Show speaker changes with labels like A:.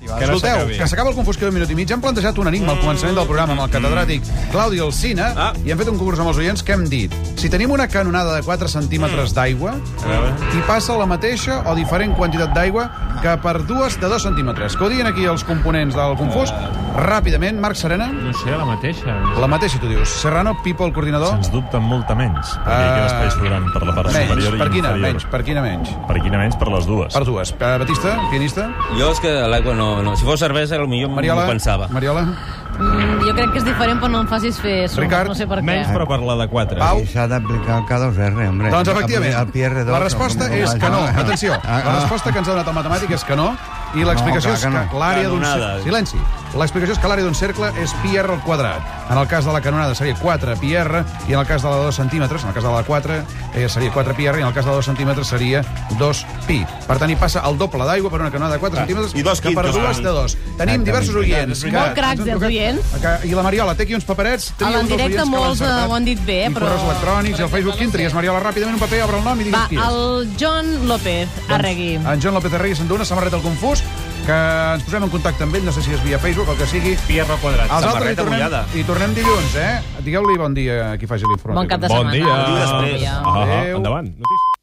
A: Que no
B: Escolteu,
A: s'acabi.
B: que s'acaba el Confús que un minut i mig. Hem plantejat un enigma al començament del programa amb el catedràtic Claudi Alsina
A: Ah.
B: i hem fet un concurs amb els oients que hem dit si tenim una canonada de 4 centímetres
A: Mm.
B: d'aigua i passa la mateixa o diferent quantitat d'aigua que per dues de 2 centímetres. Que ho diguin aquí els components del Confús.
A: Eh.
B: Ràpidament, Marc Serena,
C: No sé, la mateixa.
B: la mateixa tu dius. Serrano, Pipo, el coordinador.
D: Sens dubte, amb molta menys. Perquè hi queda espai sobrant per la part
B: Eh, Menys,
D: superior i
B: per quina?
D: inferior.
B: Menys, per quina menys?
D: Per quina menys? Per les dues.
B: Per dues. Per Batista, pianista.
A: Jo és que l'aigua no, no... Si fos cervesa, potser
B: Mariola.
A: m'ho pensava.
B: Mariola.
E: Mm, jo crec que és diferent, però no em facis fer sumes,
B: Ricard,
E: no sé per què.
A: Menys, però per la de 4.
B: Pau.
F: I s'ha d'aplicar el K2R, hombre.
B: Doncs, efectivament,
F: PR2,
B: la resposta és que no. Atenció, la resposta que ens ha donat el matemàtic és que no, i l'explicació
F: clar
B: és
F: que no.
B: que l'àrea d'un cercle...
A: Canonada.
B: Silenci. L'explicació és que l'àrea d'un cercle és pi r al quadrat. En el cas de la canonada seria 4 pi r, i en el cas de la de 2 centímetres, en el cas de la de 4, eh, seria 4 pi r, i en el cas de la de 2 centímetres seria 2 pi. Per tant, hi passa el doble d'aigua per una canonada de 4 centímetres
A: I dos
B: que per
A: quintos,
B: dues
A: per
B: de 2. Tenim diversos oients. Que,
E: Molt cracs, eh, els oients.
B: Que, I la Mariola, té aquí uns paperets.
E: A
B: tria un dels
E: l'endirecte
B: oients que l'ha
E: molts, eh,
B: encertat.
E: ho han dit bé,
B: I
E: però-
B: correus electrònics, i el Facebook, quin tries, Mariola? Ràpidament un paper, obre el nom i
E: Va,
B: digues qui és.
E: el John López, Arregui.
B: En Joan López Arregui s'endú una samarreta al confús, que ens posem en contacte amb ell, no sé si és via Facebook o el que sigui.
C: Pierre quadrat.
B: Els altres hi
A: Samarreta
B: tornem,
A: mullada.
B: hi tornem dilluns, eh? Digueu-li bon dia a qui faci l'informatiu.
E: Bon cap de
C: Bon
E: setmana.
C: dia.
A: Ho diu després.
C: Ah,
E: Adéu.
C: ah,
B: Adéu.
C: endavant. Notícies.